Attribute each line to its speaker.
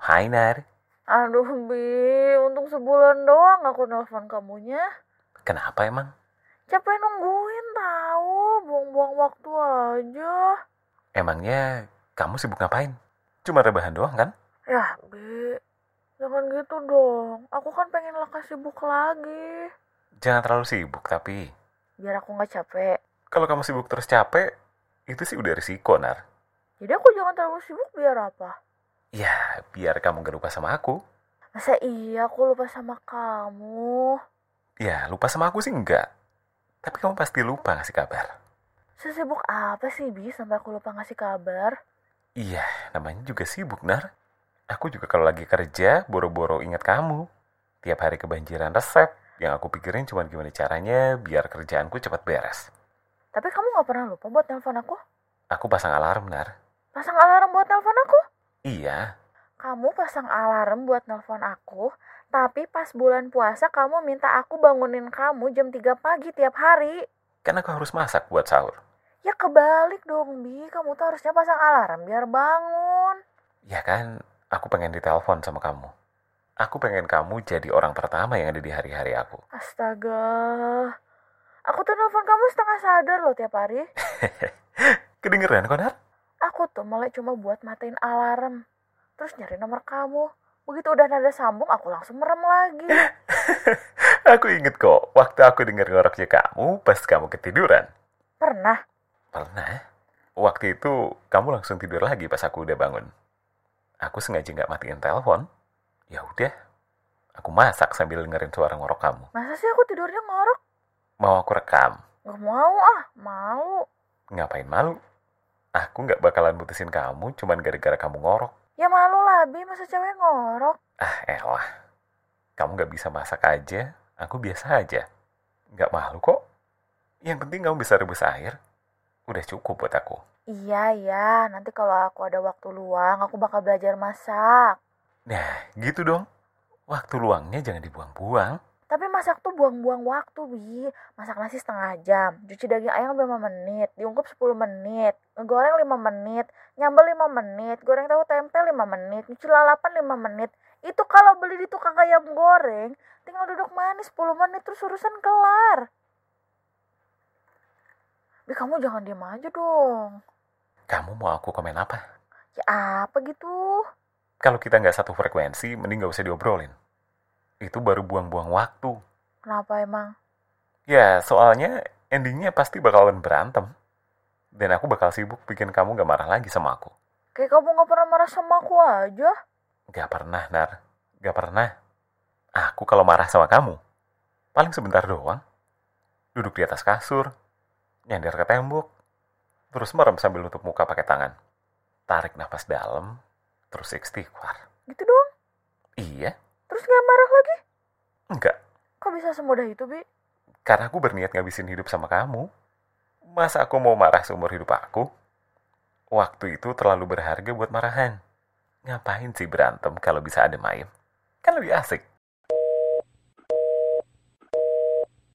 Speaker 1: ngapain, Nar?
Speaker 2: Aduh, Bi, untung sebulan doang aku nelpon kamunya.
Speaker 1: Kenapa emang?
Speaker 2: Capek nungguin tahu, buang-buang waktu aja.
Speaker 1: Emangnya kamu sibuk ngapain? Cuma rebahan doang kan?
Speaker 2: Yah, Ya, Bi, jangan gitu dong. Aku kan pengen lekas sibuk lagi.
Speaker 1: Jangan terlalu sibuk tapi.
Speaker 2: Biar aku nggak capek.
Speaker 1: Kalau kamu sibuk terus capek, itu sih udah risiko, Nar.
Speaker 2: Jadi aku jangan terlalu sibuk biar apa?
Speaker 1: Ya, biar kamu gak lupa sama aku.
Speaker 2: Masa iya aku lupa sama kamu?
Speaker 1: Ya, lupa sama aku sih enggak. Tapi kamu pasti lupa ngasih kabar.
Speaker 2: Sesibuk apa sih, Bi, sampai aku lupa ngasih kabar?
Speaker 1: Iya, namanya juga sibuk, Nar. Aku juga kalau lagi kerja, boro-boro ingat kamu. Tiap hari kebanjiran resep, yang aku pikirin cuma gimana caranya biar kerjaanku cepat beres.
Speaker 2: Tapi kamu nggak pernah lupa buat telepon aku?
Speaker 1: Aku pasang alarm, Nar.
Speaker 2: Pasang alarm buat telepon aku?
Speaker 1: Iya,
Speaker 2: Kamu pasang alarm buat nelpon aku, tapi pas bulan puasa kamu minta aku bangunin kamu jam 3 pagi tiap hari.
Speaker 1: kan aku harus masak buat sahur.
Speaker 2: Ya kebalik dong, Bi. Kamu tuh harusnya pasang alarm biar bangun.
Speaker 1: Ya kan, aku pengen ditelepon sama kamu. Aku pengen kamu jadi orang pertama yang ada di hari-hari aku.
Speaker 2: Astaga. Aku tuh nelpon kamu setengah sadar loh tiap hari.
Speaker 1: Kedengeran kok, Nar?
Speaker 2: Aku tuh melek cuma buat matiin alarm. Terus nyari nomor kamu. Begitu udah nada sambung, aku langsung merem lagi.
Speaker 1: Aku inget kok, waktu aku denger ngoroknya kamu pas kamu ketiduran.
Speaker 2: Pernah.
Speaker 1: Pernah? Waktu itu kamu langsung tidur lagi pas aku udah bangun. Aku sengaja nggak matiin telepon. Ya udah, aku masak sambil dengerin suara ngorok kamu.
Speaker 2: Masa sih aku tidurnya ngorok?
Speaker 1: Mau aku rekam?
Speaker 2: Gak mau ah, malu.
Speaker 1: Ngapain malu? Aku nggak bakalan putusin kamu cuman gara-gara kamu ngorok.
Speaker 2: Ya malu lah, Bi. Masa cewek ngorok?
Speaker 1: Ah, elah. Kamu nggak bisa masak aja, aku biasa aja. Nggak malu kok. Yang penting kamu bisa rebus air. Udah cukup buat aku.
Speaker 2: Iya, iya. Nanti kalau aku ada waktu luang, aku bakal belajar masak.
Speaker 1: Nah, gitu dong. Waktu luangnya jangan dibuang-buang.
Speaker 2: Tapi masak tuh buang-buang waktu, Bi. Masak nasi setengah jam, cuci daging ayam 5 menit, diungkup 10 menit, ngegoreng 5 menit, nyambel 5 menit, goreng tahu tempe 5 menit, cuci lalapan 5 menit. Itu kalau beli di tukang ayam goreng, tinggal duduk manis 10 menit terus urusan kelar. Bi, kamu jangan diem aja dong.
Speaker 1: Kamu mau aku komen apa?
Speaker 2: Ya apa gitu?
Speaker 1: Kalau kita nggak satu frekuensi, mending nggak usah diobrolin. Itu baru buang-buang waktu.
Speaker 2: Kenapa emang?
Speaker 1: Ya, soalnya endingnya pasti bakalan berantem. Dan aku bakal sibuk bikin kamu nggak marah lagi sama aku.
Speaker 2: Kayak kamu gak pernah marah sama aku aja.
Speaker 1: Nggak pernah, Nar. Nggak pernah. Aku kalau marah sama kamu, paling sebentar doang. Duduk di atas kasur, nyender ke tembok, terus merem sambil nutup muka pakai tangan. Tarik nafas dalam, terus istighfar.
Speaker 2: Gitu doang.
Speaker 1: Iya,
Speaker 2: Terus gak marah lagi?
Speaker 1: enggak.
Speaker 2: Kok bisa semudah itu, Bi?
Speaker 1: Karena aku berniat ngabisin hidup sama kamu. Masa aku mau marah seumur hidup aku? Waktu itu terlalu berharga buat marahan. Ngapain sih berantem kalau bisa ada main? Kan lebih asik.